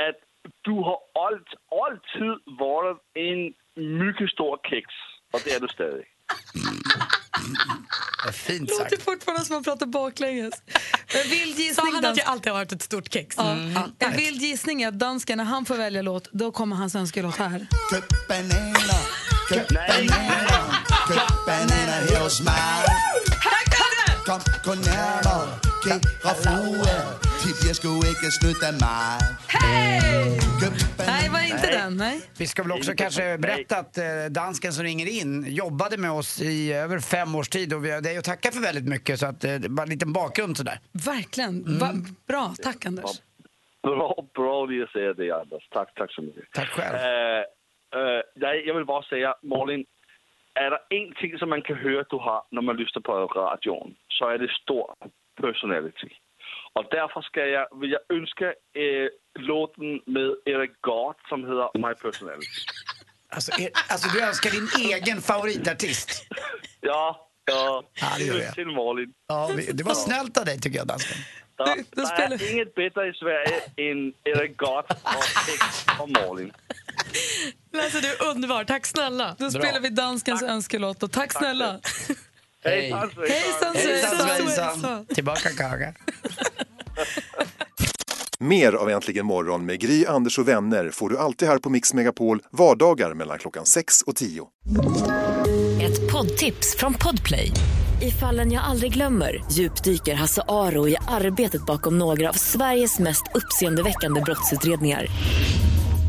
H: att du har allt, alltid varit en mycket stor kex. Och det är du stadig.
D: Fint
A: Låter fortfarande som man pratar baklänges. En vild
S: Sa
A: gissning,
S: han att jag alltid har varit ett stort kex?
A: Mm. Ja.
E: Mm.
A: En vild gissning är att dansken, när han får välja låt, då kommer hans önskelåt här.
G: Her kom det! Kom, gå nærmere. Kære frue. Tip, jeg skulle ikke snyde dig meget.
A: Hey! Nej, var
D: inte Nej. den,
A: Nej.
D: Vi ska väl också kanske berätta att eh, dansken som ringer in jobbade med oss i över fem års tid och vi har dig att tacka för väldigt mycket så att eh, det var en liten bakgrund sådär.
A: Verkligen. Va, bra. Tack, Anders.
H: Bra, bra ni säger det, Anders. Tack, tack så Øh, mycket.
D: Tack själv.
H: nej, jag vill bara säga, Malin, är det en ting som man kan höra att du har när man lyssnar på radion så är det stor personality. Och därför ska jag, vill jag øh, önska eh, låten med Eric Gard som heter My Personality.
D: Alltså, er, alltså du önskar din egen favoritartist.
H: Ja, ja.
D: det gör jag.
H: Till Malin.
D: Ja, vi- det var snällt av dig tycker jag dansken.
H: Ja, der er inget bedre i Sverige end Eric Gott og Sex og Malin.
A: Lasse, du är underbar. Tack snälla. Då
H: Bra.
A: spelar vi danskens önskelåt. Och tack snälla.
H: Hej.
A: Hejsan
D: Hejsan
A: svejsan.
D: svejsan. Tillbaka Kaga.
L: Mer av Äntligen morgon med Gry, Anders och vänner får du alltid här på Mix Megapol vardagar mellan klockan 6 och 10.
W: Ett poddtips från Podplay. I fallen jag aldrig glömmer djupdyker Hasse Aro i arbetet bakom några av Sveriges mest uppseendeväckande brottsutredningar.